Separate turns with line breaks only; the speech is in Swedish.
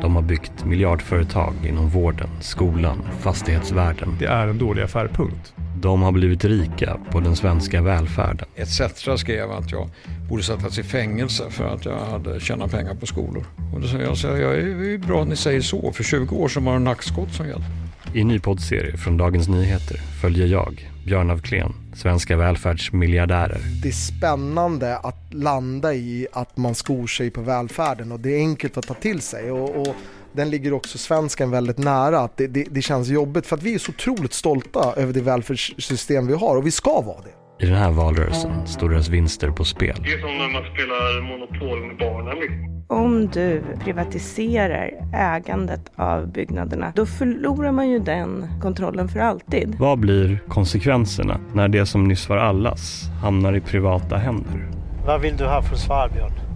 De har byggt miljardföretag inom vården, skolan, fastighetsvärlden.
Det är en dålig affär, punkt.
De har blivit rika på den svenska välfärden.
ETC skrev att jag borde sättas i fängelse för att jag hade tjänat pengar på skolor. Och då sa jag, så jag är bra att ni säger så. För 20 år sedan var det nackskott som gällde.
I ny poddserie från Dagens Nyheter följer jag, Björn af Klen, svenska välfärdsmiljardärer.
Det är spännande att landa i att man skor sig på välfärden och det är enkelt att ta till sig. Och, och den ligger också svensken väldigt nära. Att det, det, det känns jobbigt för att vi är så otroligt stolta över det välfärdssystem vi har och vi ska vara det.
I den här valrörelsen står deras vinster på spel.
Det är som när man spelar Monopol med barnen. Liksom.
Om du privatiserar ägandet av byggnaderna, då förlorar man ju den kontrollen för alltid.
Vad blir konsekvenserna när det som nyss var allas hamnar i privata händer?
Vad vill du ha för svar, Björn?